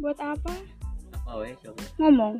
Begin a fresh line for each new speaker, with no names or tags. buat apa
apa weh coba
ngomong